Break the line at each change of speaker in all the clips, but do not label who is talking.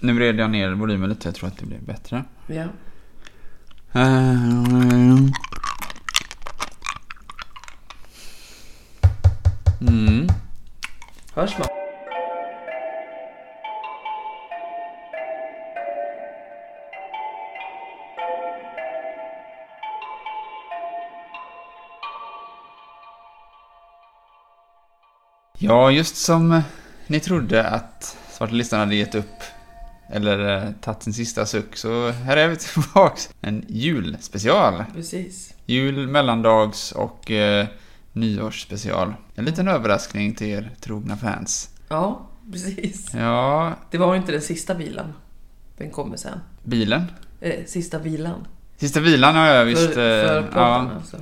Nu vred jag ner volymen lite. Jag tror att det blir bättre.
Ja.
Mm.
Hörs man?
Ja, just som eh, ni trodde att Svarta Listan hade gett upp eller eh, tagit sin sista suck så här är vi tillbaks. En julspecial.
Precis.
Jul, mellandags och eh, nyårsspecial. En liten överraskning till er trogna fans.
Ja, precis.
Ja,
Det var ju inte den sista vilan. Den kommer sen.
bilen.
Eh, sista vilan.
Sista vilan har jag visst...
för, för
eh,
podden
ja.
alltså.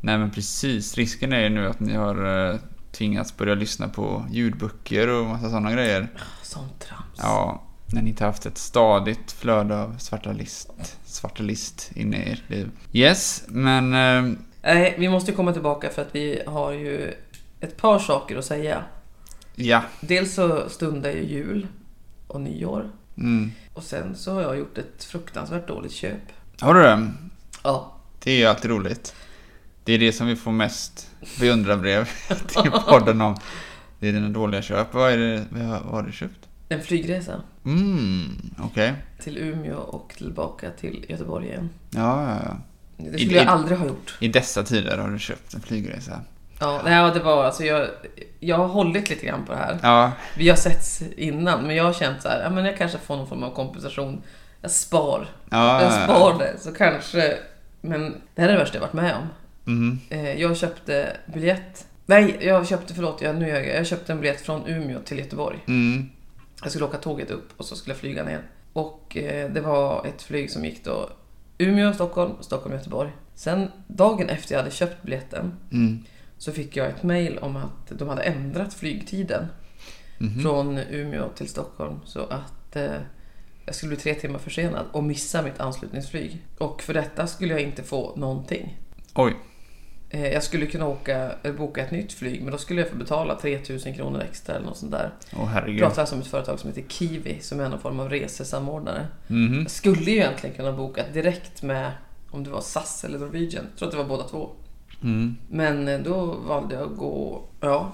Nej men precis. Risken är ju nu att ni har eh, tvingats börja lyssna på ljudböcker och massa sådana grejer.
Sånt trams.
Ja, när ni inte haft ett stadigt flöde av svarta list, svarta list inne i ert liv. Yes, men... Eh,
Nej, vi måste ju komma tillbaka för att vi har ju ett par saker att säga.
ja.
Dels så stundar ju jul och nyår.
Mm.
Och sen så har jag gjort ett fruktansvärt dåligt köp.
Har du det?
Ja.
Det är ju alltid roligt. Det är det som vi får mest beundrarbrev till podden om. Det är dina dåliga köp. Vad, är det, vad har du köpt?
En flygresa
Mm, okej.
till Umeå och tillbaka till Göteborg igen.
Ja, ja, ja.
Det
I-
skulle jag
i-
aldrig ha gjort.
I dessa tider har du köpt en flygresa.
Ja, nej, ja, det var alltså jag, jag har hållit lite grann på det här.
Ja,
Vi har setts innan, men jag har känt så här, ja, men jag kanske får någon form av kompensation. Jag spar.
ja.
Jag spar det, så kanske. Men det här är det värsta jag varit med om.
Mhm.
Eh, Jag köpte biljett. Nej, jag köpte, förlåt, jag, nu ljög jag. Jag köpte en biljett från Umeå till Göteborg.
Mm.
Jag skulle åka tåget upp och så skulle jag flyga ner. Och eh, det var ett flyg som gick då Umeå, Stockholm, Stockholm, Göteborg. Sen dagen efter jag hade köpt biljetten
Mm.
så fick jag ett mejl om att de hade ändrat flygtiden
Mhm.
från Umeå till Stockholm så att eh, jag skulle bli tre timmar försenad och missa mitt anslutningsflyg. Och för detta skulle jag inte få någonting.
Oj.
Eh, jag skulle kunna åka, eh, boka ett nytt flyg men då skulle jag få betala 3000 kronor extra eller något sånt där.
Åh
Jag
herregud.
pratar alltså om ett företag som heter Kiwi som är någon form av resesamordnare.
Mhm.
Jag skulle ju egentligen kunna boka direkt med om det var SAS eller Norwegian. Jag tror att det var båda två.
Mm.
Men eh, då valde jag att gå, ja,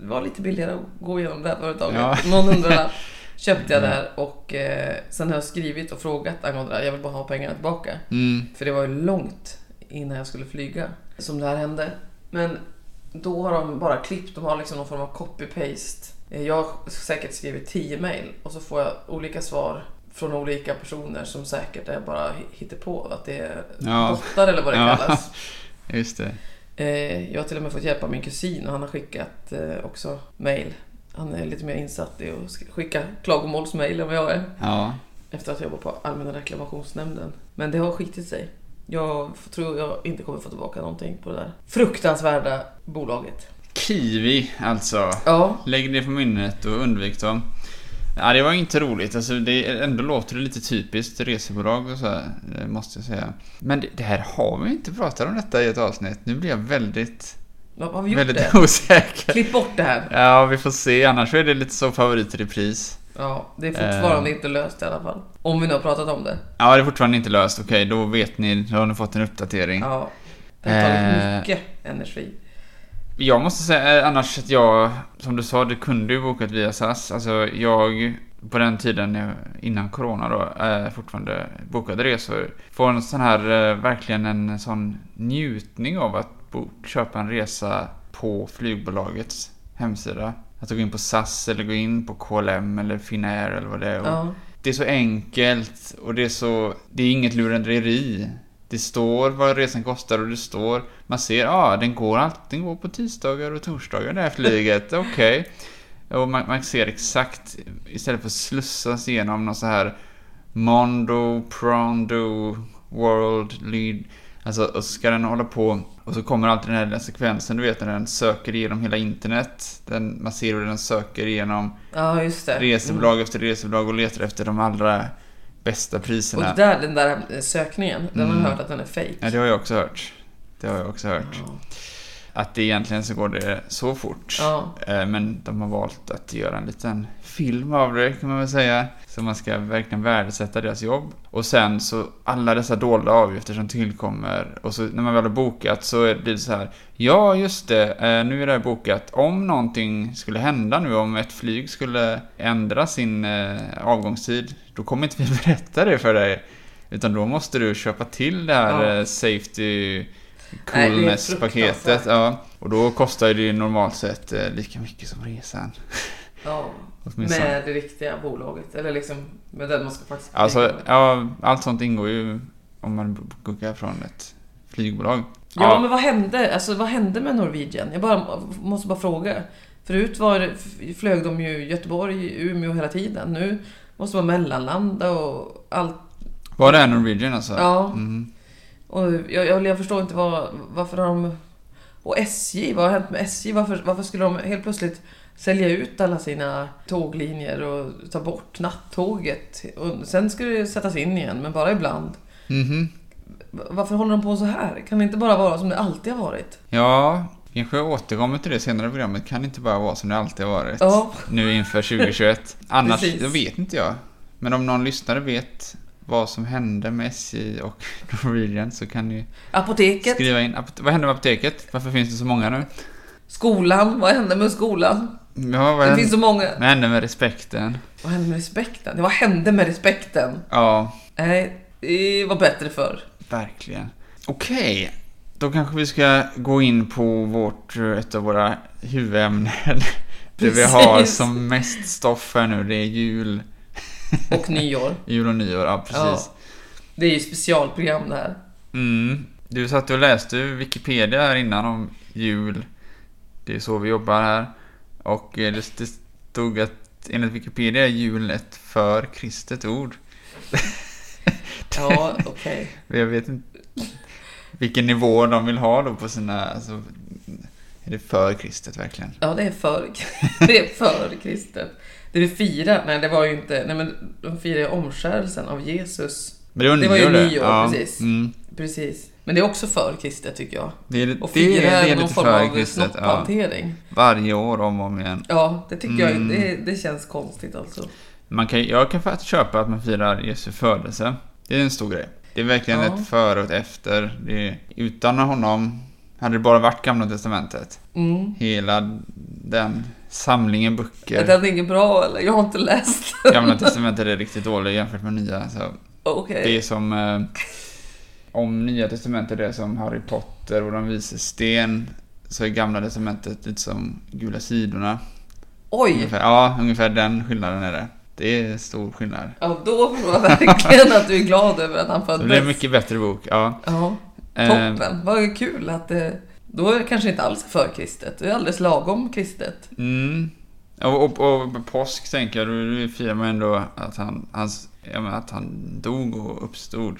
det var lite billigare att gå igenom det här företaget.
Ja.
Någon hundralapp köpte jag där och eh, sen har jag skrivit och frågat angående det här. Jag vill bara ha pengarna tillbaka.
Mm.
För det var ju långt innan jag skulle flyga som det här hände. Men då har de bara klippt, de har liksom någon form av copy-paste. Eh, Jag har säkert skrivit 10 mejl och så får jag olika svar från olika personer som säkert är bara på Att det är
Ja.
bottar eller vad det
Ja.
kallas.
Just det.
Eh, Jag har till och med fått hjälp av min kusin och han har skickat eh, också mejl. Han är lite mer insatt i att sk- skicka klagomålsmejl än vad jag är.
Ja.
Efter att jag jobbat på Allmänna reklamationsnämnden. Men det har skitit sig. Jag f- tror jag inte kommer få tillbaka någonting på det där fruktansvärda bolaget.
Kiwi, alltså.
Ja,
Lägg det på minnet och undvik dem. Ja, det var inte roligt. Alltså, det, ändå låter det lite typiskt resebolag och så här, eh, måste jag säga. Men det, det här har vi inte pratat om detta i ett avsnitt. Nu blir jag väldigt,
vad har vi gjort
väldigt
det?
osäker.
Klipp bort det här.
Ja, vi får se. Annars är det lite som favorit i repris.
Ja, det är fortfarande inte löst i alla fall. Om vi nu har pratat om det.
Ja, det är fortfarande inte löst. Okej, då vet ni. Då har ni fått en uppdatering.
Ja, det har tagit
Eh.
mycket energi.
Jag måste säga eh, annars att jag, som du sa, det kunde ju bokat via SAS. Alltså jag, på den tiden jag- innan corona då, eh, fortfarande bokade resor. Får en sån här, eh, verkligen en sån njutning av att bo, köpa en resa på flygbolagets hemsida. Att gå in på SAS eller gå in på KLM eller Finnair eller vad det är. Och
Ja,
det är så enkelt och det är så... Det är inget lurendrejeri. Det står vad resan kostar och det står... Man ser, ja, ah, den går alltid... Den går på tisdagar och torsdagar det här flyget. Okej. Och man, man ser exakt... Istället för att slussas igenom någon så här... Mondo, Prondo, World, Lead... Alltså, och så ska den hålla på... Och så kommer alltid den här lilla sekvensen, du vet, när den söker igenom hela internet. Den, man ser hur den söker igenom
ja just det.
resebolag efter resebolag och letar efter de allra bästa
Och
priserna.
det där, den där eh, sökningen, den har jag
Mm.
hört att den är fejk.
Ja, det har jag också hört. Det har jag också hört.
Ja.
Att det egentligen så går det så fort.
Ja.
Eh, Men de har valt att göra en liten film av det kan man väl säga. Så man ska verkligen värdesätta deras jobb. Och sen så alla dessa dolda avgifter som tillkommer. Och så när man väl har bokat så är- blir det så här. Ja, just det. eh, Nu är det här bokat. Om någonting skulle hända nu, om ett flyg skulle ändra sin eh, avgångstid, då kommer inte vi berätta det för dig. Utan då måste du köpa till det här
Ja.
eh, safety
Nej, det är
coolness-paketet.
fruktansvärt.
Ja. Och då kostar ju det normalt sett eh, lika mycket som resan.
Ja,
Åtminstone.
med det riktiga bolaget. Eller liksom med den man ska faktiskt
Alltså,
flyga med.
ja, allt sånt ingår ju om man bookar från ett flygbolag.
Ja,
ja.
men vad hände? Alltså, vad hände med Norwegian? Jag bara, måste bara fråga. Förut var, det- f- flög de ju Göteborg, Umeå hela tiden. Nu måste man mellanlanda och allt.
Var det är Norwegian alltså?
Ja.
Mm.
Och jag, jag, jag förstår inte vad, varför har de... Och SJ, vad har hänt med SJ? Varför, varför skulle de helt plötsligt sälja ut alla sina tåglinjer och ta bort nattåget? Och sen ska det sättas in igen, men bara ibland.
Mhm.
V- Varför håller de på så här? Kan det inte bara vara som det alltid har varit?
Ja, kanske jag återkommer till det senare i programmet. Kan inte bara vara som det alltid har varit.
Ja,
Nu inför 2021. Annars,
Precis.
jag vet inte jag. Men om någon lyssnare vet vad som hände med SJ och Norwegian så kan ni
apoteket,
skriva in. Apot- Vad hände med apoteket? Varför finns det så många nu?
skolan, vad hände med skolan?
Ja, vad
Det finns
hände,
så många.
vad hände med respekten?
Vad hände med respekten? Ja, Vad hände med respekten?
Ja,
Nej, det var bättre förr.
Verkligen. Okej, då kanske vi ska gå in på vårt, eh, ett av våra huvudämnen. Det vi har
Precis.
som mest stoff här nu, det är jul,
Och nyår.
jul och nyår. Ja,
Ja,
precis.
det är ju specialprogram det här.
Mm. Du satt och läste ju Wikipedia här innan om jul. Det är så vi jobbar här. Och eh, det, det stod att enligt Wikipedia är jul ett för kristet ord.
Ja, okej.
Jag vet inte vilken nivå de vill ha då på sina... Alltså, är det för kristet verkligen?
Ja, det är för, det är för kristet. Det vi firar, nej det var ju inte, nej men de firar ju omskärelsen av Jesus.
Men det var,
Det var ju
nyår
nyår, precis.
Mm.
Precis. Men det är också för kristet tycker jag.
Det är,
Och
det,
fira
det är
någon
lite
form
för
av
kristet. Ja.
snopphantering.
Varje år om och om igen.
Ja, det tycker
Mm.
jag det, det känns konstigt alltså.
Man kan, jag kan faktiskt köpa att man firar Jesu födelse. Det är en stor grej. Det är verkligen
Ja.
ett före och ett efter. Det är, utan honom hade det bara varit Gamla Testamentet.
Mm.
Hela den samlingen
Är
böcker.
den ingen bra eller? Jag har inte läst.
Gamla Testamentet är riktigt dåligt jämfört med Nya. Så.
Okej.
Det är som eh, om Nya Testamentet är som Harry Potter och de vises sten så är Gamla Testamentet lite som Gula sidorna.
Oj!
Ungefär, ja, ungefär den skillnaden är det. Det är stor skillnad.
Ja, då var det verkligen att du är glad över att han
Det blir en
föddes.
mycket bättre bok, ja.
Ja,
Eh,
toppen. Vad kul att det... Då är det kanske inte alls för kristet. Det är alldeles lagom kristet.
Mm. Och, och, och på påsk tänker jag, då då firar man ändå att han, hans, ja, men att han dog och uppstod.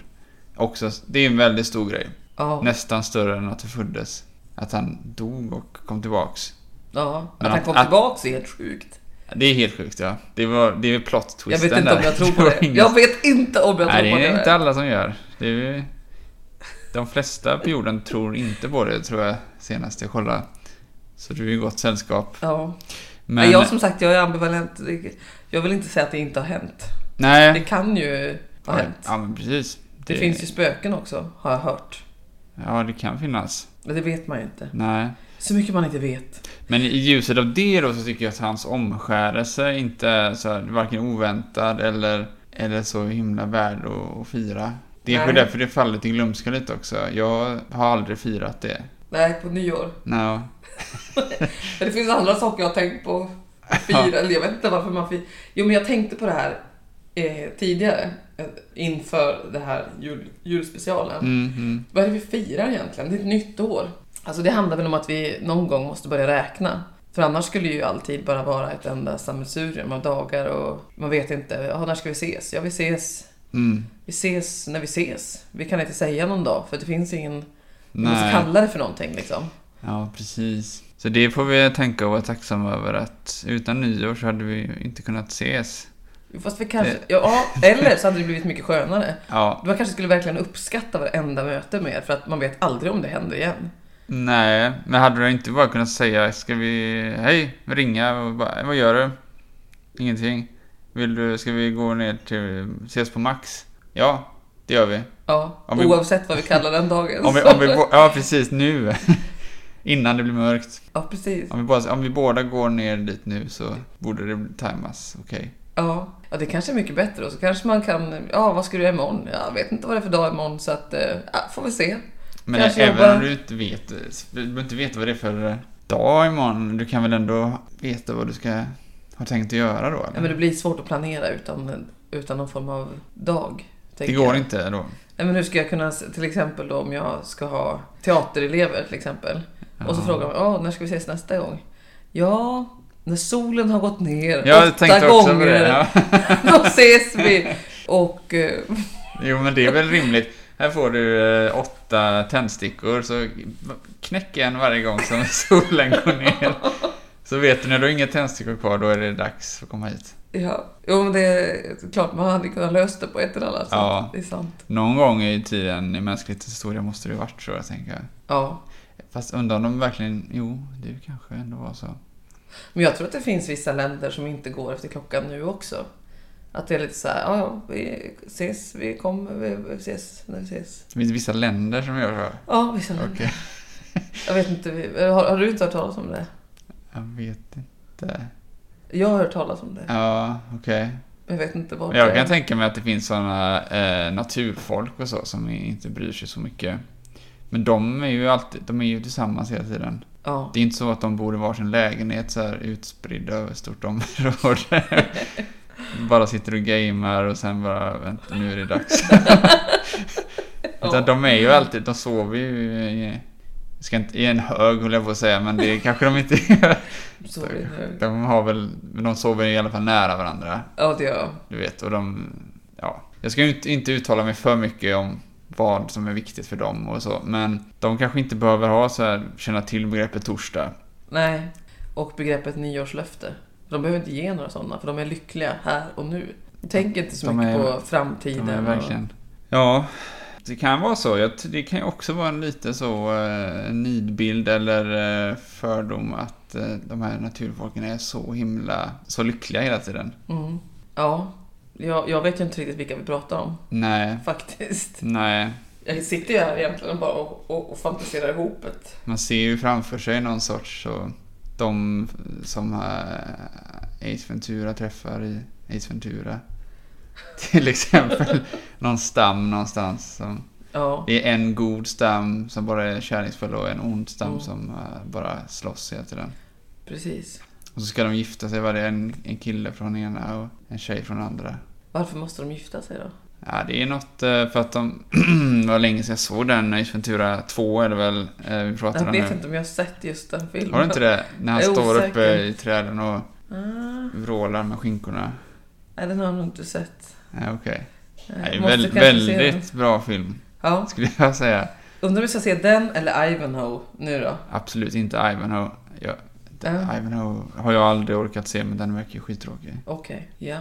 Också, det är en väldigt stor grej.
Ja.
Nästan större än att han föddes. Att han dog och kom tillbaks.
Ja,
Men
att han
att-
kom
att-
tillbaks är helt sjukt.
Det är helt sjukt ja. Det, var, det är plot
Jag
twisten
vet inte
där.
om jag tror på
var
det.
ingen-
Jag vet inte om jag tror
Nej,
på
det är
det.
inte alla som gör. Det är ju... De flesta på jorden tror inte på det tror jag senast jag kollade. Så du är i gott sällskap.
Ja. Men...
Men
jag som sagt, jag är ambivalent. Jag vill inte säga att det inte har hänt. Det
nej.
kan ju ha hänt.
Ja men precis.
Det finns ju spöken också, har jag hört.
Ja det kan finnas.
Men det vet man ju inte.
Nej.
Så mycket man inte vet.
Men i ljuset av det då så tycker jag att hans omskärelse inte är så här, varken oväntad eller, eller så himla värd att, att fira. Det är kanske
Nej.
därför det faller till glömska lite också. Jag har aldrig firat det.
Nej, på nyår.
No.
Men det finns andra saker jag har tänkt på. Fira, eller jag vet inte varför man firar. Jo, men jag tänkte på det här eh, tidigare. eh, Inför det här jul, julspecialen.
Mm, mm.
Vad är det vi firar egentligen? Det är ett nytt år. Alltså det handlar väl om att vi någon gång måste börja räkna. För annars skulle ju alltid bara vara ett enda sammelsurium av dagar och man vet inte. Ja, när ska vi ses? Ja, vi ses.
Mm.
Vi ses när vi ses. Vi kan inte säga någon dag för det finns ingen... Vi måste
Nej.
kalla det för någonting liksom.
Ja, precis. Så det får vi tänka och vara tacksamma över att utan nyår så hade vi ju inte kunnat ses.
Fast vi
Eh.
kanske... Ja, eller så hade det blivit mycket skönare.
Ja,
Man kanske skulle verkligen uppskatta varenda möte mer för att man vet aldrig om det händer igen.
nej, men hade du inte bara kunnat säga ska vi, hej, ringa och bara, vad gör du? Ingenting. Vill du, ska vi gå ner till, ses på Max? Ja, det gör vi.
Ja,
Om vi-
oavsett vad vi kallar den dagen.
Om vi,
så-
om vi, bo- ja, precis nu. Innan det blir mörkt.
Ja, precis.
Om vi, bara, om vi båda går ner dit nu så borde det tajmas okej.
Ja. ja, det kanske är mycket bättre. Och så kanske man kan... Ja, vad ska du göra imorgon? Ja, Jag vet inte vad det är för dag imorgon, så att... eh, Ja, får vi se.
Men
Kanske
även
jobba-
om du inte vet, eh, du behöver inte veta vad det är för eh, dag imorgon, du kan väl ändå veta vad du ska ha tänkt att göra då? Eller?
Ja, men det blir svårt att planera utan, utan någon form av dag.
det
tänker
går
jag.
inte då?
Nej, men hur ska jag kunna, s- till exempel då om jag ska ha teaterelever till exempel. Och så
Ja.
frågar man, "Ja, när ska vi ses nästa gång? Ja, när solen har gått ner
Jag
åtta
tänkte också på
gånger,
det. Ja.
då ses vi. Och eh,
Jo men det är väl rimligt. Här får du eh, åtta tändstickor så knäck en varje gång som solen går ner. Så vet du när du har inga tändstickor kvar då är det dags att komma hit.
ja, jo, men det är klart man hade kunnat lösa det på ett eller annat sätt.
Ja.
Det är sant.
Någon gång i tiden i mänsklighetens historia måste det ju varit så jag tänker.
Ja.
Fast undrar om de verkligen, jo det kanske ändå var så.
Men jag tror att det finns vissa länder som inte går efter klockan nu också. Att det är lite så här, ja, ja, vi ses, vi kommer, vi vi ses när vi ses.
Det finns vissa länder som gör så.
Ja, vissa
Okej.
länder. Jag vet inte, vi- har, har du inte hört talas om det?
Jag vet inte.
Jag har hört talas om det.
Ja, okej.
Men jag vet inte vart
Jag
det
kan
är.
tänka mig att det finns sådana eh, naturfolk och så som inte bryr sig så mycket. Men de är ju alltid, de är ju tillsammans hela tiden.
Ja.
Det är inte så att de bor i varsin lägenhet så här utspridda över ett stort område. bara sitter och gamer och sen bara, vänta nu är det dags. Utan de är ju alltid, de sover ju i, jag ska inte, i en hög höll jag på att säga, men det kanske de inte gör.
Så är det nu.
De har väl, men de sover i alla fall nära varandra.
Ja, det gör jag.
Du vet, och de... Ja. Jag ska ju inte, inte uttala mig för mycket om vad som är viktigt för dem och så, men de kanske inte behöver ha så här, känna till begreppet torsdag.
Nej. Och begreppet nyårslöfte. De behöver inte ge några sådana, för de är lyckliga här och nu. Tänk inte så
De
mycket
är-
på
Ja,
framtiden.
men verkligen. Ja, det kan vara så. Jag, ty- det kan ju också vara en lite så eh, nidbild eller eh, fördom att eh, de här naturfolken är så himla, så lyckliga hela tiden.
Och, mm. Ja. Jag, jag vet ju inte riktigt vilka vi pratar om,
Nej,
faktiskt.
nej.
Jag sitter ju här egentligen bara och, och, och fantiserar ihop ett...
Man ser ju framför sig någon sorts så de som eh, Ace Ventura träffar i Ace Ventura. Till exempel någon stam någonstans. Som,
Ja.
det är en god stam som bara är kärleksfull och en ond stam
Mm.
som eh, bara slåss hela tiden.
Precis.
Och så ska de gifta sig, var det en, en kille från ena och en tjej från andra.
Varför måste de gifta sig då?
Ja, det är något eh, för att de... det var länge sedan jag såg den, Ace Ventura 2 är det väl eh, vi pratar
Jag
om
vet
nu.
inte om jag har sett just den filmen.
Har du inte det? När han
Jag är
står
osäker.
uppe i träden och
Ah,
vrålar med skinkorna.
nej, den har jag nog inte sett.
Nej, okej.
Jag
Okay.
måste
Väl,
kanske se den.
väldigt bra film,
Ja.
skulle jag säga.
Undrar om vi ska se den eller Ivanhoe nu då?
Absolut inte Ivanhoe. Jag,
Ja.
Ivanhoe har jag aldrig orkat se, men den verkar ju skittråkig.
Okej, ja.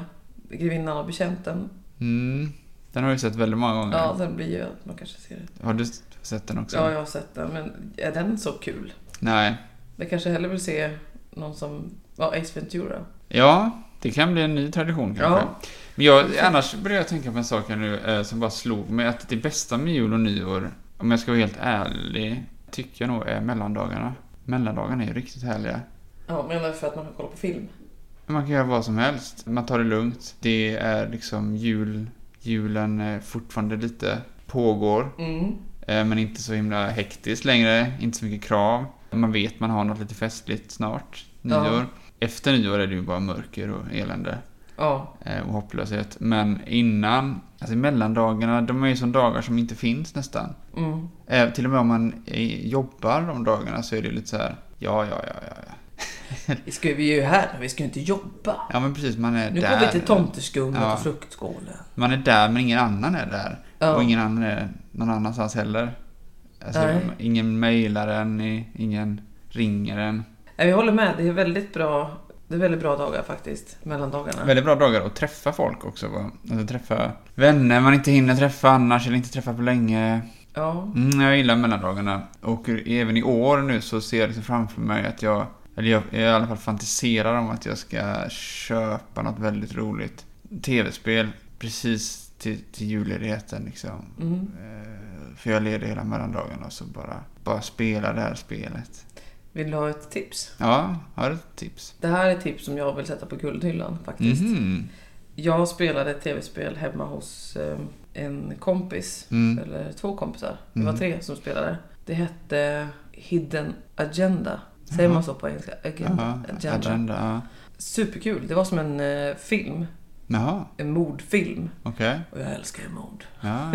Grevinnan och betjänten.
Mm. Den har jag ju sett väldigt många gånger.
Ja, den blir ju att man kanske ser det.
Har du sett den också?
Ja, jag har sett den, men är den så kul?
Nej.
Jag kanske hellre vill se någon som var Ace Ventura.
Ja, det kan bli en ny tradition kanske.
Ja.
Men jag, annars börjar jag tänka på en sak här nu eh, som bara slog mig. Att det bästa med jul och nyår, om jag ska vara helt ärlig, tycker jag nog är mellandagarna. Mellandagarna är ju riktigt härliga.
Ja, menar du för att man kan kolla på film?
Man kan göra vad som helst. Man tar det lugnt. Det är liksom jul. Julen är fortfarande lite pågår.
Mm.
eh, Men inte så himla hektiskt längre. Inte så mycket krav. Man vet man har något lite festligt snart.
Ja.
Nyår. Efter nyår är det ju bara mörker och elände
Ja,
eh, och hopplöshet. Men innan, alltså mellandagarna, de är ju som dagar som inte finns nästan.
mm.
Eh, till och med om man eh, jobbar de dagarna så är det lite så här, ja, ja, ja, ja. ja.
Vi, ska, vi är ju här, men vi ska ju inte jobba.
Ja men precis, man är
Nu
där.
går vi till tomteskummet
Ja.
och fruktskålen.
Man är där men ingen annan är där.
Ja.
Och ingen annan är någon annanstans heller. Alltså,
Nej.
ingen mejlar en, i- ingen ringer en.
Nej, Jag håller med, det är väldigt bra. Det är väldigt bra dagar faktiskt, mellandagarna.
Väldigt bra dagar att träffa folk också. va? Alltså träffa vänner man inte hinner träffa annars eller inte träffa på länge.
Ja,
Mm, jag gillar mellandagarna. Och även i år nu så ser jag liksom framför mig att jag Eller jag, jag i alla fall fantiserar om att jag ska köpa något väldigt roligt. TV-spel precis till, till julledigheten liksom.
Mm.
Eh, För jag är ledig hela mellandagen och så bara, bara spela det här spelet.
Vill du ha ett tips?
Ja, har du ett tips?
Det här är ett tips som jag vill sätta på guldhyllan faktiskt.
Mhm.
Jag spelade ett tv-spel hemma hos eh, en kompis.
Mm.
Eller två kompisar. Det
Mm.
var tre som spelade. Det hette Hidden Agenda. Säger
Jaha.
man så på engelska? Agenda.
Jaha,
agenda.
agenda. ja.
Superkul. Det var som en eh, film.
Jaha,
En mordfilm.
okej.
Och jag älskar ju mord.
Ja.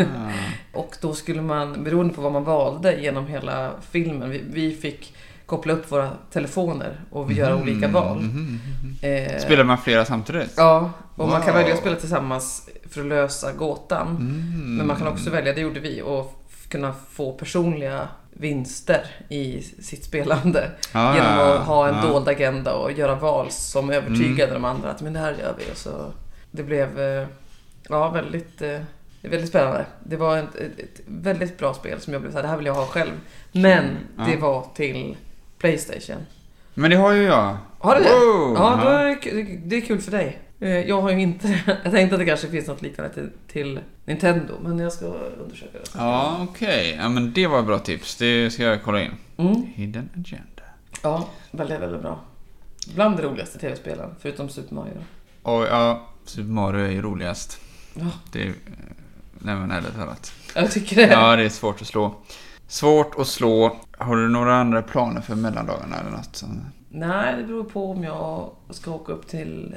Och då skulle man, beroende på vad man valde genom hela filmen, vi, vi fick koppla upp våra telefoner och göra
Mhm,
olika val.
mhm, mhm.
Eh,
Spelar man flera samtidigt?
Ja, och man kan
Wow.
välja att spela tillsammans för att lösa gåtan.
Mm.
Men man kan också välja, det gjorde vi, att f- kunna få personliga vinster i sitt spelande.
Ah, Ja,
genom
ja,
att ha en
ja.
dold agenda och göra val som övertygade
Mm.
de andra att men det här gör vi. Och så det blev eh, ja, väldigt, eh, väldigt spännande. Det var ett, ett, ett väldigt bra spel som jag blev så här, det här vill jag ha själv. Men
Mm, ja.
det var till Playstation.
Men det har ju jag.
Har du det?
Wow,
Ja, då är det, ku- det är kul för dig. Eh, Jag har ju inte det. Jag tänkte att det kanske finns något liknande till, till Nintendo, men jag ska undersöka det.
Ja, okej. Ja, men det var ett bra tips. Det ska jag kolla in.
Mm.
Hidden Agenda.
Ja, väldigt, väldigt bra. Bland de roligaste tv-spelen, förutom Super Mario.
Och ja, Super Mario är ju roligast.
Ja.
Det är... eh, Nej men ärligt talat.
Jag tycker det.
Ja, det är svårt att slå. Svårt att slå. Har du några andra planer för mellandagarna eller något? Som...
Nej, det beror på om jag ska åka upp till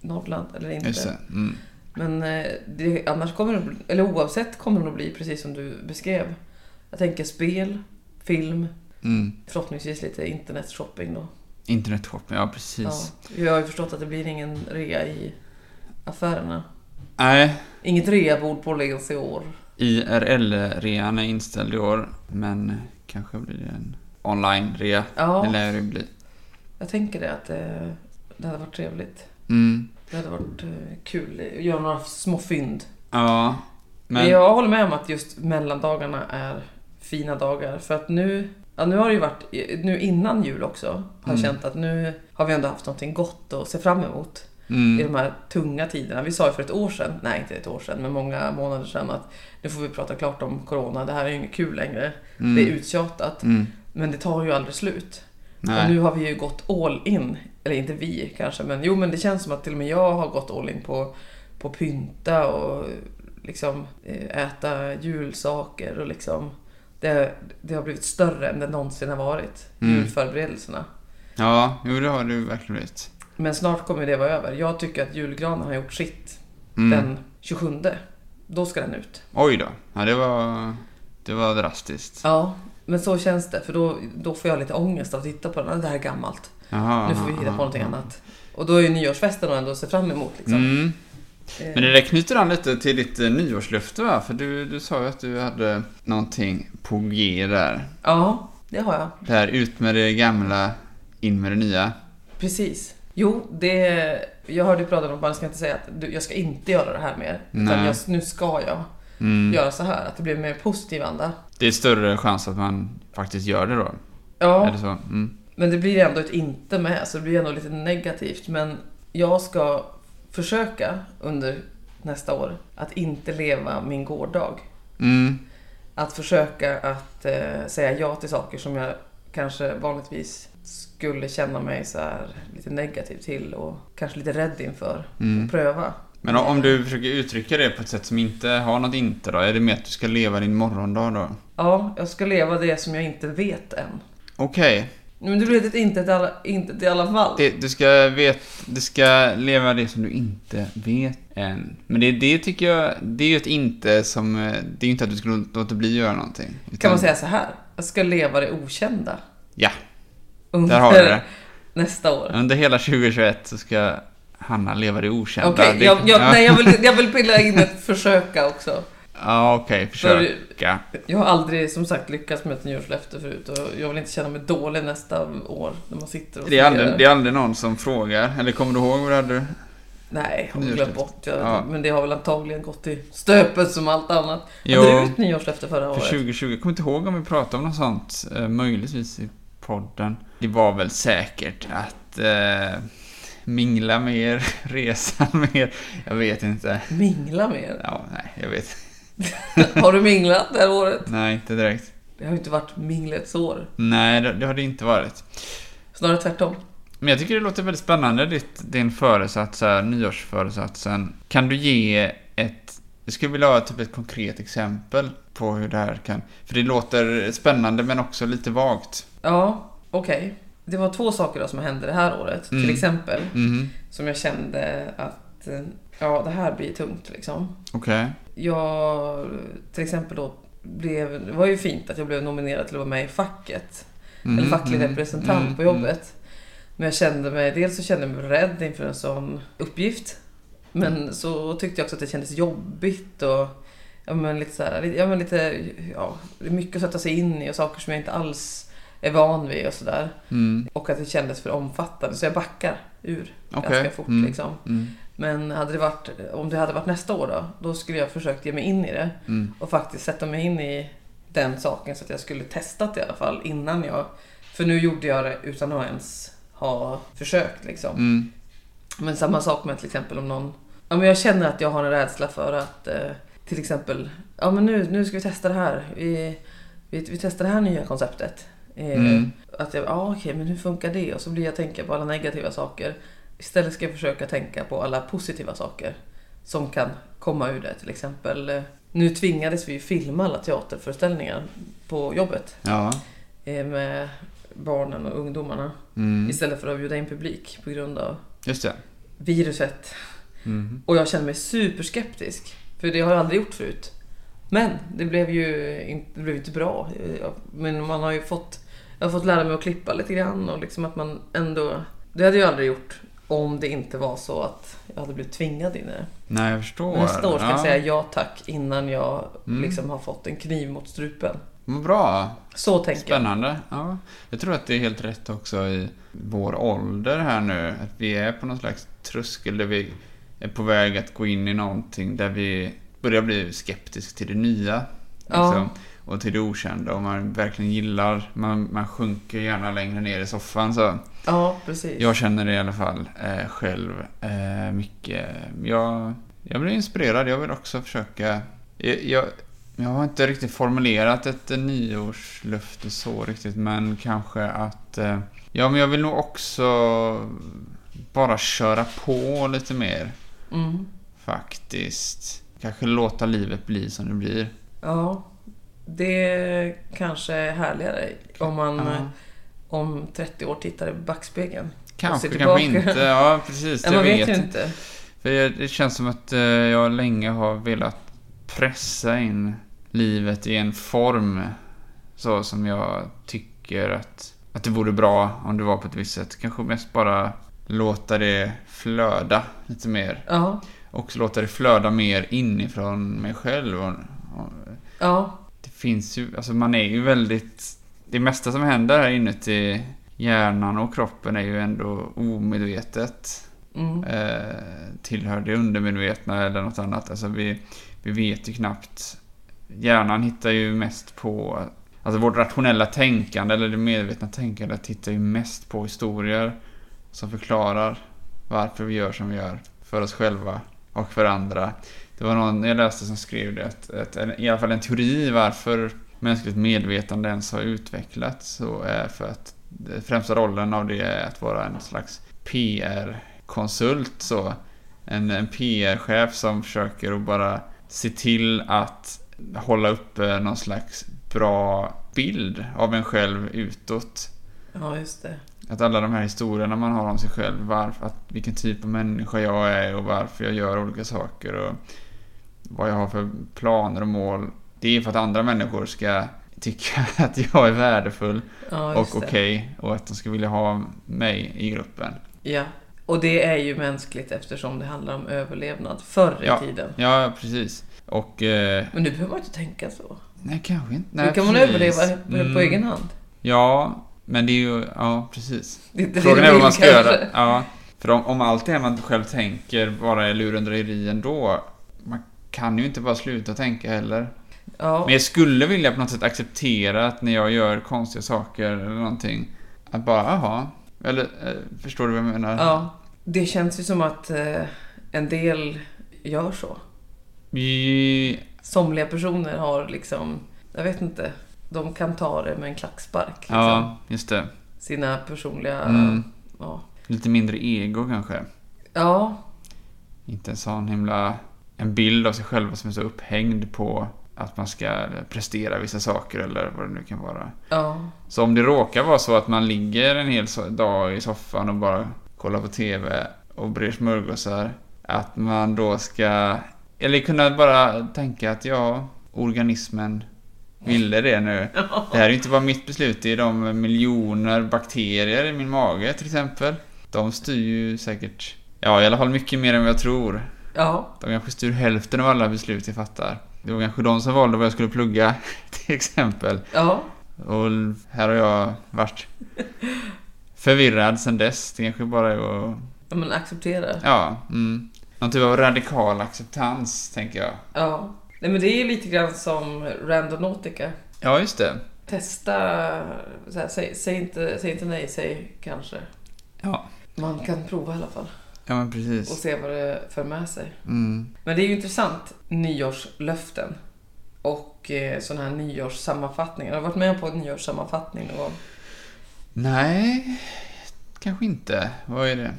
Norrland eller inte.
Just det. Mm.
Men eh, det, annars kommer det, bli- eller oavsett kommer det nog bli precis som du beskrev. Jag tänker spel, film,
Mm.
förhoppningsvis lite internetshopping då.
Internetshopping, ja precis.
Ja, jag har ju förstått att det blir ingen rea i affärerna.
Nej,
Inget reabord på Åhléns i år.
IRL-rean är inställd i år. Men kanske blir det en online-rea. Det
Ja,
lär det bli.
jag tänker det att det, det hade varit trevligt.
Mm.
Det hade varit eh, kul att göra några små fynd.
Ja.
Men
Men...
jag håller med om att just mellandagarna är fina dagar. För att nu, ja, nu har det ju varit, nu innan jul också, har jag
Mm.
känt att nu har vi ändå haft någonting gott att se fram emot i
Mm.
de här tunga tiderna. Vi sa ju för ett år sedan, nej inte ett år sedan, men många månader sedan att nu får vi prata klart om corona, det här är ju inget kul längre.
Mm.
Det är uttjatat.
Mm.
Men det tar ju aldrig slut. Och
Nej.
nu har vi ju gått all in. Eller inte vi kanske, men jo men det känns som att till och med jag har gått all in på, på pynta och liksom eh, äta julsaker och liksom det, det har blivit större än det någonsin har varit,
Mm.
julförberedelserna.
Ja, jo det har du verkligen blivit.
Men snart kommer det vara över. Jag tycker att julgranen har gjort sitt
Mm.
den 27. Då ska den ut.
Oj då. Ja, det var, det var drastiskt.
Ja, men så känns det. För då, då får jag lite ångest av att titta på den. Ah, Det här är gammalt.
Jaha,
Nu får vi hitta på någonting annat. Och då är ju nyårsfesten ändå att se fram emot. Liksom.
Mm.
Eh,
Men det där knyter an lite till ditt eh, nyårslöfte va? För du, du sa ju att du hade någonting på G där.
Ja, det har jag.
Det här ut med det gamla, in med det nya.
Precis. Jo, det, jag hörde ju prata om att man ska inte säga att du, jag ska inte göra det här mer. Utan
Nej.
jag, nu ska jag
Mm.
göra så här. Att det blir mer positiv anda.
Det är större chans att man faktiskt gör det då.
Ja,
Är det så? Mm.
men det blir ändå ett inte med. Så det blir ändå lite negativt. Men jag ska försöka under nästa år att inte leva min gårdag.
Mm.
Att försöka att eh, säga ja till saker som jag kanske vanligtvis skulle känna mig så här lite negativ till och kanske lite rädd inför.
Mm.
Och pröva.
Men om- om du försöker uttrycka det på ett sätt som inte har något inte då? Är det mer att du ska leva din morgondag då?
Ja, jag ska leva det som jag inte vet än.
Okej.
Men det blir ett inte till alla, inte till alla fall.
Det, du, ska vet, du ska leva det som du inte vet än. Men det, det tycker jag, det är ju ett inte som... eh, Det är ju inte att du skulle låta bli att göra någonting.
Kan
utan-
man säga så här? Jag ska leva det okända.
Ja,
Under
där har du det.
nästa år.
Under hela 2021 så ska Hanna leva det okända.
Okej,
Det-
jag, jag,
ja.
nej, jag, vill, jag vill pilla in ett försöka också.
Ja, okej, försöka.
Jag har aldrig som sagt lyckats med ett nyårslöfte förut och jag vill inte känna mig dålig nästa år när man sitter och
Det är, aldrig,
funderar.
det är aldrig någon som frågar. Eller kommer du ihåg vad du hade?
Nej, jag har glömt
Nyårslöfte.
bort. Jag,
Ja.
Men det har väl antagligen gått i stöpet som allt annat. Hade
Jo,
du ett nyårslöfte förra
för
året?
2020. Jag kommer inte ihåg om vi pratade om något sånt. eh, Möjligtvis i podden. Det var väl säkert att eh, mingla mer, resa mer. Jag vet inte.
Mingla mer?
Ja, nej, jag vet.
Har du minglat det här året?
Nej, inte direkt.
Det har ju inte varit minglets år.
Nej, det, det har det inte varit.
Snarare tvärtom.
Men jag tycker det låter väldigt spännande, ditt, din föresats här, nyårsföresatsen. Kan du ge ett... Jag skulle vilja ha typ ett konkret exempel på hur det här kan... För det låter spännande men också lite vagt.
Ja, okej. Det var två saker då som hände det här året.
Mm.
Till exempel
Mhm,
som jag kände att eh, ja, det här blir tungt liksom.
okej.
Jag till exempel då blev, det var ju fint att jag blev nominerad till att vara med i facket.
Mhm,
eller facklig
mhm,
representant
mhm,
på jobbet. Men jag kände mig, dels så kände jag mig rädd inför en sån uppgift.
Mm.
Men så tyckte jag också att det kändes jobbigt och ja, men lite så här, lite- ja, men lite, ja, det är mycket att sätta sig in i och saker som jag inte alls är van vid och sådär.
Mm, mm,
Och att det kändes för omfattande så jag backar ur
okej.
ganska fort
mm,
liksom.
Mm,
Men hade det varit, om det hade varit nästa år då, då skulle jag försökt ge mig in i det
mm,
och faktiskt sätta mig in i den saken så att jag skulle testat i alla fall innan jag... För nu gjorde jag det utan att ens ha försökt liksom.
mm,
Men samma sak med till exempel om någon... Ja men jag känner att jag har en rädsla för att eh, till exempel... Ja men nu, nu ska vi testa det här. Vi, vi, vi testar det här nya konceptet. Eh,
Mm.
Att jag, ja okej men hur funkar det? Och så blir jag tänka på alla negativa saker. Istället ska jag försöka tänka på alla positiva saker som kan komma ur det. Till exempel, eh, nu tvingades vi ju filma alla teaterföreställningar på jobbet
ja.
eh, med barnen och ungdomarna
Mm,
istället för att bjuda in publik på grund av
just det.
viruset
Mm,
och jag kände mig superskeptisk. För det har jag aldrig gjort förut. Men det blev ju inte, det blev inte bra. Jag- Men man har ju fått, jag har fått lära mig att klippa lite grann och liksom att man ändå... Det hade jag aldrig gjort om det inte var så att jag hade blivit tvingad in i det.
nej, jag förstår.
Nästa år ska jag
Ja,
säga ja tack innan jag
Mm.
liksom har fått en kniv mot strupen.
Vad bra.
Så tänker
Spännande. Ja. Jag tror att det är helt rätt också i vår ålder här nu. Att vi är på någon slags tröskel där vi är på väg att gå in i någonting där vi börjar bli skeptisk till det nya.
Ja.
Liksom, och till det okända. Och man verkligen gillar, man, man sjunker gärna längre ner i soffan. Så.
jag. Ja, precis.
Jag känner det i alla fall eh, själv eh, mycket. Jag, jag blir inspirerad. Jag vill också försöka. Jag, jag, jag har inte riktigt formulerat ett eh, nyårslöfte så riktigt, men kanske att... Eh, ja, men jag vill nog också bara köra på lite mer
Mm.
faktiskt. Kanske låta livet bli som det blir.
Ja. Det kanske är härligare om man eh,
Ja,
om 30 år tittar i backspegeln.
kanske,
tillbaka.
kanske inte. Ja, precis.
Ja,
jag
man
vet
Typ. vet
inte.
ju inte.
För jag- det känns som att eh, jag länge har velat pressa in livet i en form så som jag tycker att, att det vore bra om det var på ett visst sätt. Kanske mest bara låta det flöda lite mer.
Ja,
Och låta det flöda mer inifrån mig själv. Och, och
ja,
det finns ju, alltså man är ju väldigt... Det mesta som händer här inuti hjärnan och kroppen är ju ändå omedvetet
mm,
eh, tillhör det undermedvetna eller något annat. Alltså vi, vi vet ju knappt. Hjärnan hittar ju mest på... Alltså vårt rationella tänkande eller det medvetna tänkandet hittar ju mest på historier som förklarar varför vi gör som vi gör för oss själva och för andra. Det var någon jag läste som skrev det, att, att en, i alla fall en teori varför mänskligt medvetande ens har utvecklats så är för att den främsta rollen av det är att vara en slags PR konsult så. En, en PR-chef som försöker att bara se till att hålla uppe någon slags bra bild av en själv utåt.
ja, just det.
Att alla de här historierna man har om sig själv, varför, att vilken typ av människa jag är och varför jag gör olika saker och vad jag har för planer och mål. Det är för att andra människor ska tycka att jag är värdefull
Ja, just
och okej och att de ska vilja ha mig i gruppen.
det. Ja. Och det är ju mänskligt eftersom det handlar om överlevnad förr i
Ja.
tiden.
Ja, precis. Och eh,
Men nu behöver man inte tänka så.
Nej, kanske inte.
nu
Nej,
kan man
precis.
överleva
Mm.
på egen hand.
Ja, men det är ju... Ja, precis.
Det är inte
Frågan
det
är vad
vi
man ska
vill
göra.
kanske.
Ja, för om, om allt det man själv tänker bara är lurendrejeri ändå, man kan ju inte bara sluta tänka heller.
Ja,
Men jag skulle vilja på något sätt acceptera att när jag gör konstiga saker eller någonting, Att bara, aha. Eller, eh, förstår du vad jag menar?
Ja. Det känns ju som att eh, en del gör så.
I-
Somliga personer har liksom, jag vet inte, de kan ta det med en klackspark. Liksom.
Ja, just det.
Sina personliga...
Mm.
Ja.
Lite mindre ego kanske.
ja,
Inte en sån himla... En bild av sig själva som är så upphängd på att man ska prestera vissa saker eller vad det nu kan vara.
ja,
Så om det råkar vara så att man ligger en hel so- dag i soffan och bara kollar på TV och brer smörgåsar, att man då ska... Eller kunna bara tänka att ja, organismen ville det nu. Det här är ju inte bara mitt beslut, det är de miljoner bakterier i min mage till exempel. De styr ju säkert, ja i alla fall mycket mer än vad jag tror.
ja,
De kanske styr hälften av alla beslut jag fattar. Det var kanske de som valde vad jag skulle plugga till exempel.
ja.
Och här har jag varit förvirrad sen dess. Det kanske bara är att...
Ja, Men acceptera.
Ja. Mm. Någon typ av radikal acceptans, tänker jag.
Ja. Nej men det är lite grann som Randonautica.
Ja, just det.
Testa, så här, säg, säg, inte, säg inte nej, säg kanske.
Ja.
Man kan prova i alla fall
Ja, men
och
precis.
se vad det för med sig.
Mm.
Men det är ju intressant, nyårslöften och eh, sådana här nyårssammanfattningar. Har du varit med på en nyårssammanfattning någon gång?
Nej, kanske inte. Vad är det?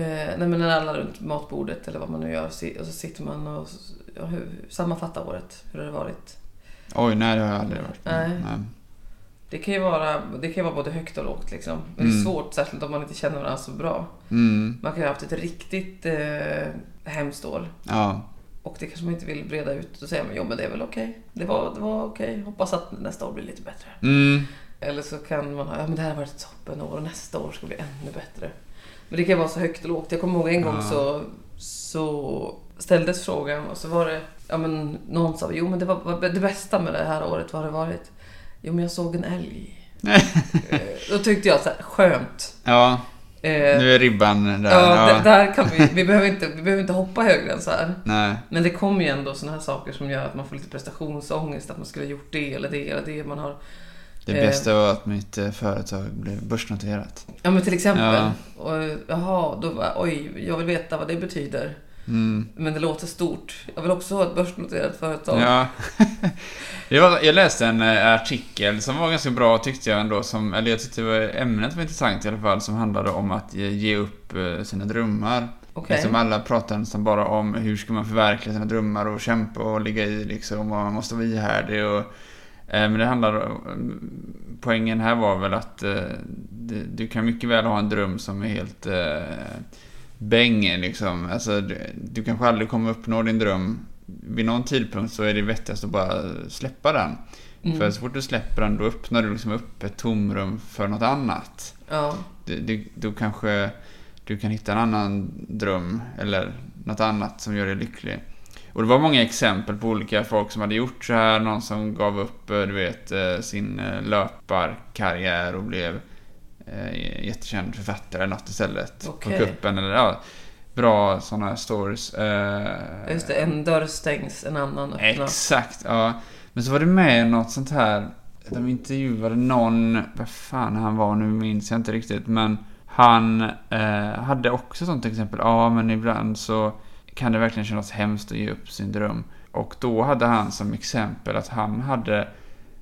Eh, nej men när alla runt matbordet eller vad man nu gör si- och så sitter man och s- ja, hur, sammanfattar året. Hur har det varit?
Oj, nej, det har jag aldrig varit Mm, med.
Nej. Det kan ju vara, det kan ju vara både högt och lågt liksom. Men det är
Mm.
svårt, särskilt om man inte känner varandra så bra.
Mm.
Man kan ju ha haft ett riktigt eh, hemskt år
Ja.
och det kanske man inte vill breda ut och säga men jo men det är väl okej. Det var, det var okej. Hoppas att nästa år blir lite bättre.
Mm.
Eller så kan man ha, ja men det här har varit ett toppenår och nästa år ska bli ännu bättre. Men det kan vara så högt och lågt. Jag kommer ihåg en gång
Ja.
så, så ställdes frågan och så var det, ja men någon sa, jo men det, var, var det bästa med det här året, vad har det varit? Jo men jag såg en älg. Eh, Då tyckte jag så här, skönt.
Ja,
Eh,
nu är ribban där.
ja,
Ja.
d- där kan vi, vi, behöver inte, vi behöver inte hoppa högre än så här.
Nej.
Men det kommer ju ändå såna här saker som gör att man får lite prestationsångest, att man skulle ha gjort det eller det eller det. Man har
Det
Eh.
bästa var att mitt eh, företag blev börsnoterat.
Ja men till exempel.
Ja.
Och, jaha, då var, oj, jag vill veta vad det betyder.
Mm.
Men det låter stort. Jag vill också ha ett börsnoterat företag.
Ja. Det var, jag läste en eh, artikel som var ganska bra tyckte jag ändå. Som, eller jag tyckte det var, ämnet var intressant i alla fall. Som handlade om att ge, ge upp eh, sina drömmar.
Okej.
Eftersom alla pratar nästan bara om hur ska man förverkliga sina drömmar och kämpa och ligga i liksom. Och man måste vara ihärdig och... eh, Men det handlar om- Poängen här var väl att eh, det- du kan mycket väl ha en dröm som är helt eh, bäng liksom. Alltså, du, du kanske aldrig kommer uppnå din dröm. Vid någon tidpunkt så är det vettigast att bara släppa den.
Mm.
För så fort du släpper den då öppnar du liksom upp ett tomrum för något annat.
Ja.
Du, du, då kanske du kan hitta en annan dröm eller något annat som gör dig lycklig. Och det var många exempel på olika folk som hade gjort så här. Någon som gav upp, eh, du vet, eh, sin eh, löparkarriär och blev eh, jättekänd författare eller något istället.
Okej.
På kuppen eller ja. Bra sådana stories. Eh,
Just det, en dörr stängs, en annan öppnas.
Exakt, ja. Men så var det med något sånt här. De intervjuade någon, vad fan han var nu minns jag inte riktigt. Men han eh, hade också sånt exempel. Ja, men ibland så kan det verkligen kännas hemskt att ge upp sin dröm. Och då hade han som exempel att han hade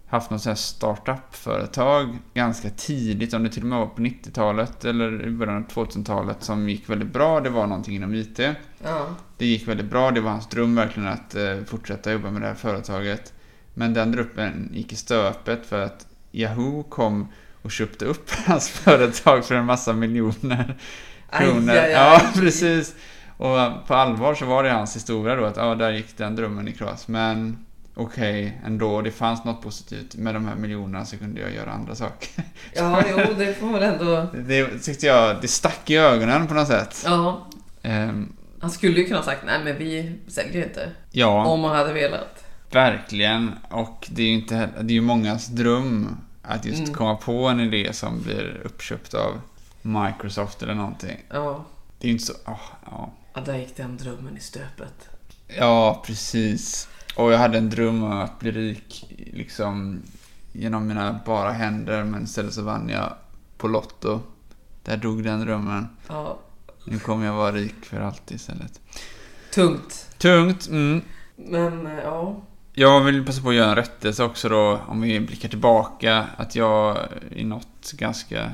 haft något sånt här startup-företag ganska tidigt, om det till och med var på 90-talet eller i början av 2000-talet, som gick väldigt bra. Det var någonting inom IT.
Ja.
Det gick väldigt bra, det var hans dröm verkligen att eh, fortsätta jobba med det här företaget. Men den drömmen gick i stöpet för att Yahoo kom och köpte upp hans företag för en massa miljoner
Aj,
kronor.
aj, aj.
Ja, precis. Och eh, på allvar så var det hans historia då att ja, där gick den drömmen i kras. Men okej, ändå. Det fanns något positivt. Med de här miljonerna så kunde jag göra andra saker.
Ja, jo, det får man väl ändå...
Det tyckte jag, det stack i ögonen på något sätt.
Ja.
Ehm,
Han skulle ju kunna ha sagt nej men vi säljer inte.
ja.
Om han hade velat.
Verkligen, och det är ju, inte, heller- det är ju mångas dröm att just
Mm.
komma på en idé som blir uppköpt av Microsoft eller någonting.
Ja.
Det är ju inte så... ah, ja.
ja där gick den drömmen i stöpet.
ja, precis. Och jag hade en dröm om att bli rik liksom genom mina bara händer men istället så vann jag på Lotto. Där dog den drömmen.
Ja,
Nu kommer jag vara rik för alltid istället.
tungt.
Tungt, mm.
Men eh, ja,
Jag vill passa på att göra en rättelse också då, om vi blickar tillbaka, att jag i något ganska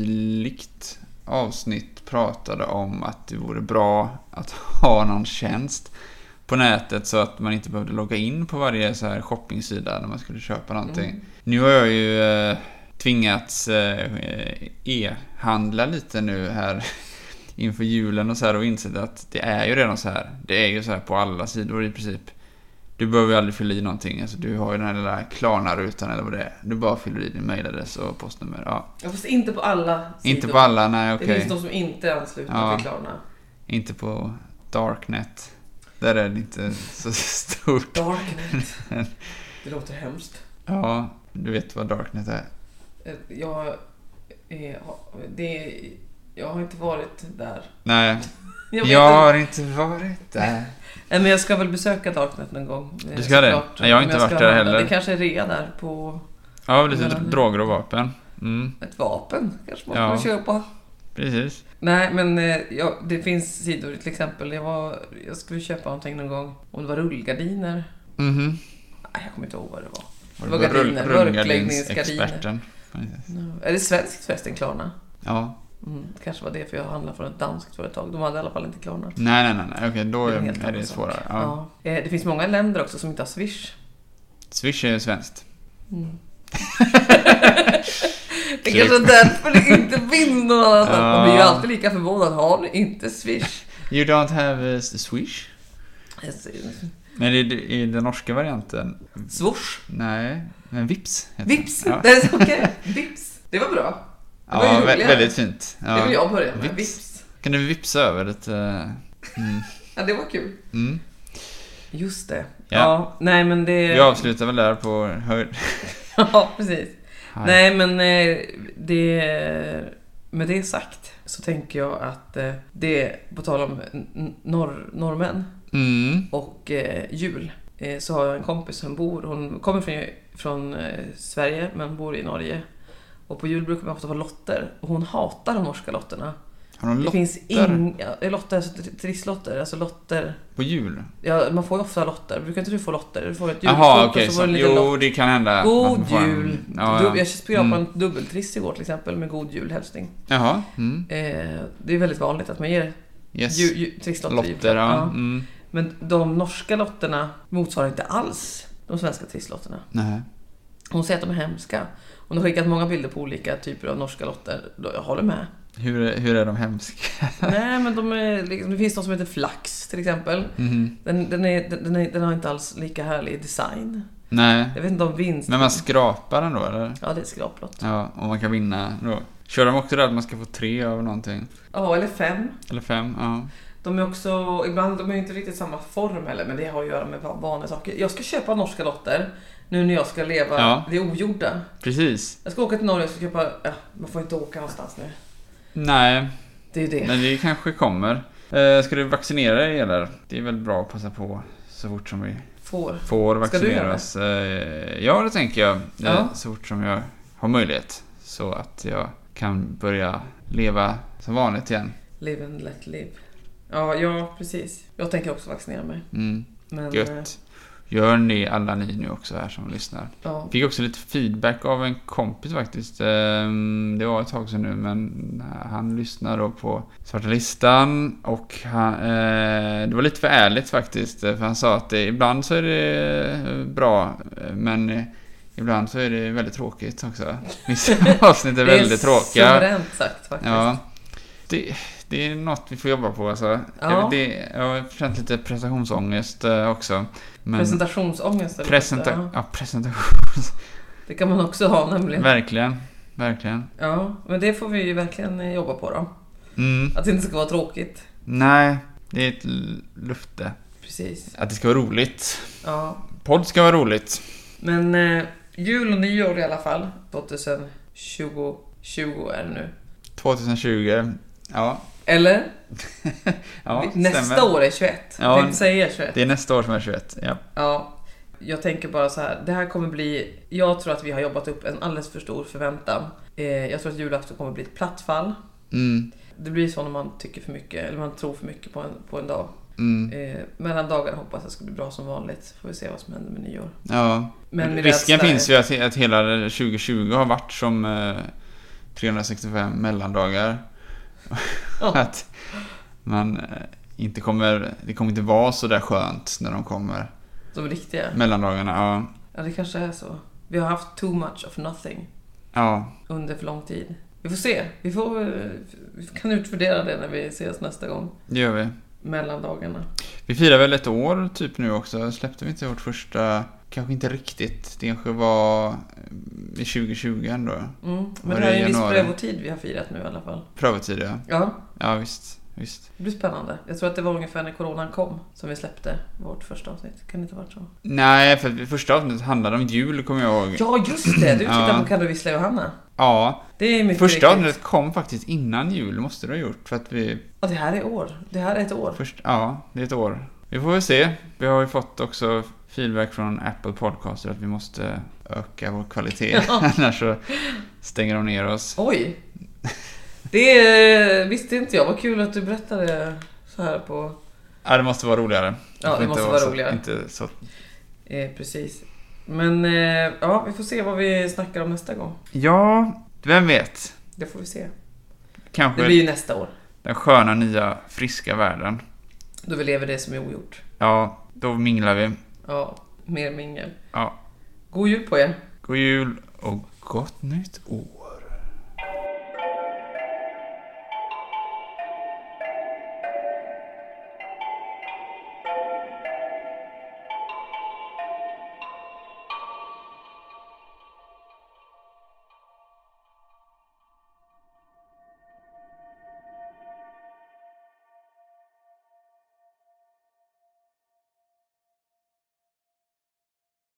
nyligt avsnitt pratade om att det vore bra att ha någon tjänst på nätet så att man inte behövde logga in på varje så här shoppingsida när man skulle köpa någonting.
Mm.
Nu har jag ju eh, tvingats eh, eh, e-handla lite nu här inför julen och så här och insett att det är ju redan så här. Det är ju så här på alla sidor i princip. Du behöver ju aldrig fylla i någonting. Alltså, du har ju den här lilla Klarna-rutan eller vad det är. Du bara fyller i din mailadress och postnummer. Ja.
Ja, fast inte på alla sidor.
Inte på alla, nej okej.
Det finns de som inte är anslutna
Ja.
till Klarna.
Inte på Darknet. Där är det inte så stort.
Darknet. Det låter hemskt.
Ja, du vet vad Darknet är.
Eh, Jag, är, det, är- jag har inte varit där.
Nej,
Jag,
jag,
vet
har inte varit där.
inte. Nej, Men jag ska väl besöka Darknet någon gång. eh,
Du ska det?
såklart.
Nej, jag har
Om
inte
ska
varit där
handla.
heller.
Det kanske är rea där på
Ja, lite
Men-
droger och vapen. Mm,
ett vapen. Kanske man
Ja.
får köpa.
precis.
Nej, men eh, ja, det finns sidor till exempel. Jag, var, jag skulle köpa någonting någon gång. Om det var rullgardiner.
Mhm.
Nej, jag kommer inte ihåg vad det var.
Var
Det var
det rull-
gardiner,
rullgardinsexperten? Mm.
Är det svenskt förresten, Klarna?
Ja.
Mm, det kanske var det, för jag handlade från ett danskt företag. De hade i alla fall inte Klarna.
Nej, nej, nej, nej. Okej, då
Det är en
är,
helt
är det
annan sak.
svårare. Ja.
Ja. Eh, Det finns många länder också som inte har Swish.
Swish är ju svenskt.
Mm. det
Klipp.
kanske är därför det inte finns någon annanstans.
Typ. Ja.
Man blir ju alltid lika förvånad. Har ni inte Swish? Eh,
You don't have eh, Swish? Men i, i den norska varianten?
Swoosh?
Nej, men Vips heter
Vips?
den. Ja,
Det är så- Okej, Vips. Det var bra. Det var ju
ja vä-
roligare.
väldigt fint.
Det
Ja.
vill jag börja med.
Vips.
Vips.
Kan du vipsa över lite? Mm.
Ja, det var kul.
Mm.
Just det.
Ja.
Ja. nej men det...
Vi avslutar väl där på höjd.
ja, precis.
Hej.
Nej, men eh, det... Med det sagt så tänker jag att eh, det, på tal om n- n- norr, norrmän
Mm.
och eh, jul, eh, så har jag en kompis som bor, hon kommer från, från eh, Sverige men bor i Norge. Och på jul brukar man ofta vara lotter och hon hatar de norska lotterna.
Har de
Det
lopp
finns inga... ja, Lotter, alltså tr- trisslotter, alltså lotter.
på jul?
Ja, man får ju ofta lotter. Brukar inte du få lotter? Du får ett julkort
Jaha, okej.
och så får du en
så-
liten lott.
jo, det kan hända. att man
God
får en-
jul!
Ja, Mm.
Dub-
ja.
Jag skulle på en dubbeltriss igår till exempel med God Jul hälsning.
Jaha. Mm.
Eh, det är väldigt vanligt att man ger
Yes.
ju, ju, trisslotter. i
Lotter,
julklapp.
ja.
typ Ja.
Mm.
Men de norska lotterna motsvarar inte alls de svenska trisslotterna.
Nej.
Hon säger att de är hemska. Hon har skickat många bilder på olika typer av norska lotter. Då- Jag håller med.
Hur, är- hur är de hemska?
Nej, men de är, liksom- det finns någon som heter Flax till exempel.
Mhm.
Den, den, är, den, den, är, den har inte alls lika härlig design.
Nej.
Jag vet inte om vinst...
Men man skrapar den då, eller?
Ja, det är ett skraplott.
Ja, och man kan vinna då. Kör de också där att man ska få tre av någonting?
Ja, eller fem.
Eller fem? Ja.
De är också, ibland, de är inte riktigt samma form heller, men det har att göra med va- vanliga saker. Jag ska köpa norska lotter nu när jag ska leva
Ja.
det ogjorda.
Precis.
Jag ska åka till Norge och ska köpa, ja, man får inte åka någonstans nu.
Nej,
Det är ju det.
men det kanske kommer. Eh, ska du vaccinera dig eller? Det är väl bra att passa på så fort som vi
Får.
får
Ska du göra
vaccineras. Eh, ja, det tänker jag. Eh,
Ja.
Så fort som jag har möjlighet. Så att jag kan börja leva som vanligt igen.
Live and let live. Ja, ja, precis. Jag tänker också vaccinera mig.
Mm,
Men, eh,
gött. Gör ni alla ni nu också här som lyssnar.
Ja.
Fick också lite feedback av en kompis faktiskt. Ehm, Det var ett tag sedan nu men han lyssnade då på Svarta Listan och han, eh, det var lite för ärligt faktiskt. eh, För han sa att det, ibland så är det eh, bra eh, men eh, ibland så är det väldigt tråkigt också. Vissa avsnitt är väldigt tråkiga.
suveränt sagt faktiskt.
Ja. Det, det är något vi får jobba på alltså.
Ja.
Jag, det, jag har känt lite prestationsångest eh, också. Men
Presentationsångest. eller
presenta-
något, ja.
ja, presentation.
Det kan man också ha nämligen.
Verkligen, verkligen.
Ja, men det får vi ju verkligen eh, jobba på då.
Mm.
Att det inte ska vara tråkigt.
Nej, det är ett l- lufte.
Precis.
Att det ska vara roligt.
Ja,
Podd ska vara roligt.
Men eh, jul och nyår i alla fall. 2020 20 är det nu.
2020. Ja,
Eller?
ja
nästa
stämmer.
år är 21.
Ja.
Jag tänkte säga 21.
Det är nästa år som är 21. Ja.
Ja. Jag tänker bara så här, det här kommer bli... Jag tror att vi har jobbat upp en alldeles för stor förväntan. Eh, jag tror att julafton kommer bli ett plattfall.
Mm,
Det blir så när man tycker för mycket, eller man tror för mycket på en, på en dag.
mm,
Eh, mellan dagarna hoppas jag ska bli bra som vanligt. Får vi se vad som händer med nyår.
ja.
Men min
Risken
rädsla är-
finns ju att, att hela 2020 har varit som eh, 365 mellandagar.
Ja.
att man eh, inte kommer, det kommer inte vara så där skönt när de kommer.
De riktiga.
Mellandagarna, ja.
Ja, det kanske är så. Vi har haft too much of nothing
Ja,
under för lång tid. Vi får se. Vi, får, eh, vi kan utvärdera det när vi ses nästa gång.
det gör vi.
Mellan dagarna.
Vi firar väl ett år typ nu också. Släppte vi inte vårt första, kanske inte riktigt. Det kanske var eh, i 2020 ändå.
Mm. Men
Var
det här
det
är en viss
januari?
prövotid vi har firat nu i alla fall.
Prövotid ja.
Ja,
Ja visst, visst.
det blir spännande. Jag tror att det var ungefär när coronan kom som vi släppte vårt första avsnitt. Kan det inte ha varit så?
Nej, för det första avsnittet handlade om jul kommer jag ihåg.
Ja, just det! Du tittar
Ja.
på Kan du vissla Johanna?
Ja,
Det är mycket
första
riktigt.
avsnittet kom faktiskt innan jul måste det ha gjort. För att vi,
Ja, det här är år. Det här är ett år.
först, ja, det är ett år. Vi får väl se. Vi har ju fått också feedback från Apple Podcaster att vi måste öka vår kvalitet. Annars så stänger de ner oss.
Oj! Det eh, visste inte jag. Vad kul att du berättade så här på...
Ja, det måste vara roligare.
Ja,
får
det
inte
måste vara
så,
roligare.
Inte så,
Eh, precis. Men eh, ja, vi får se vad vi snackar om nästa gång.
ja, vem vet?
Det får vi se.
Kanske
Det blir ju nästa år.
den sköna, nya, friska världen.
Då vi lever det som är ogjort.
Ja, då minglar vi.
Ja, mer mingel.
Ja.
God jul på er!
God jul och gott nytt år.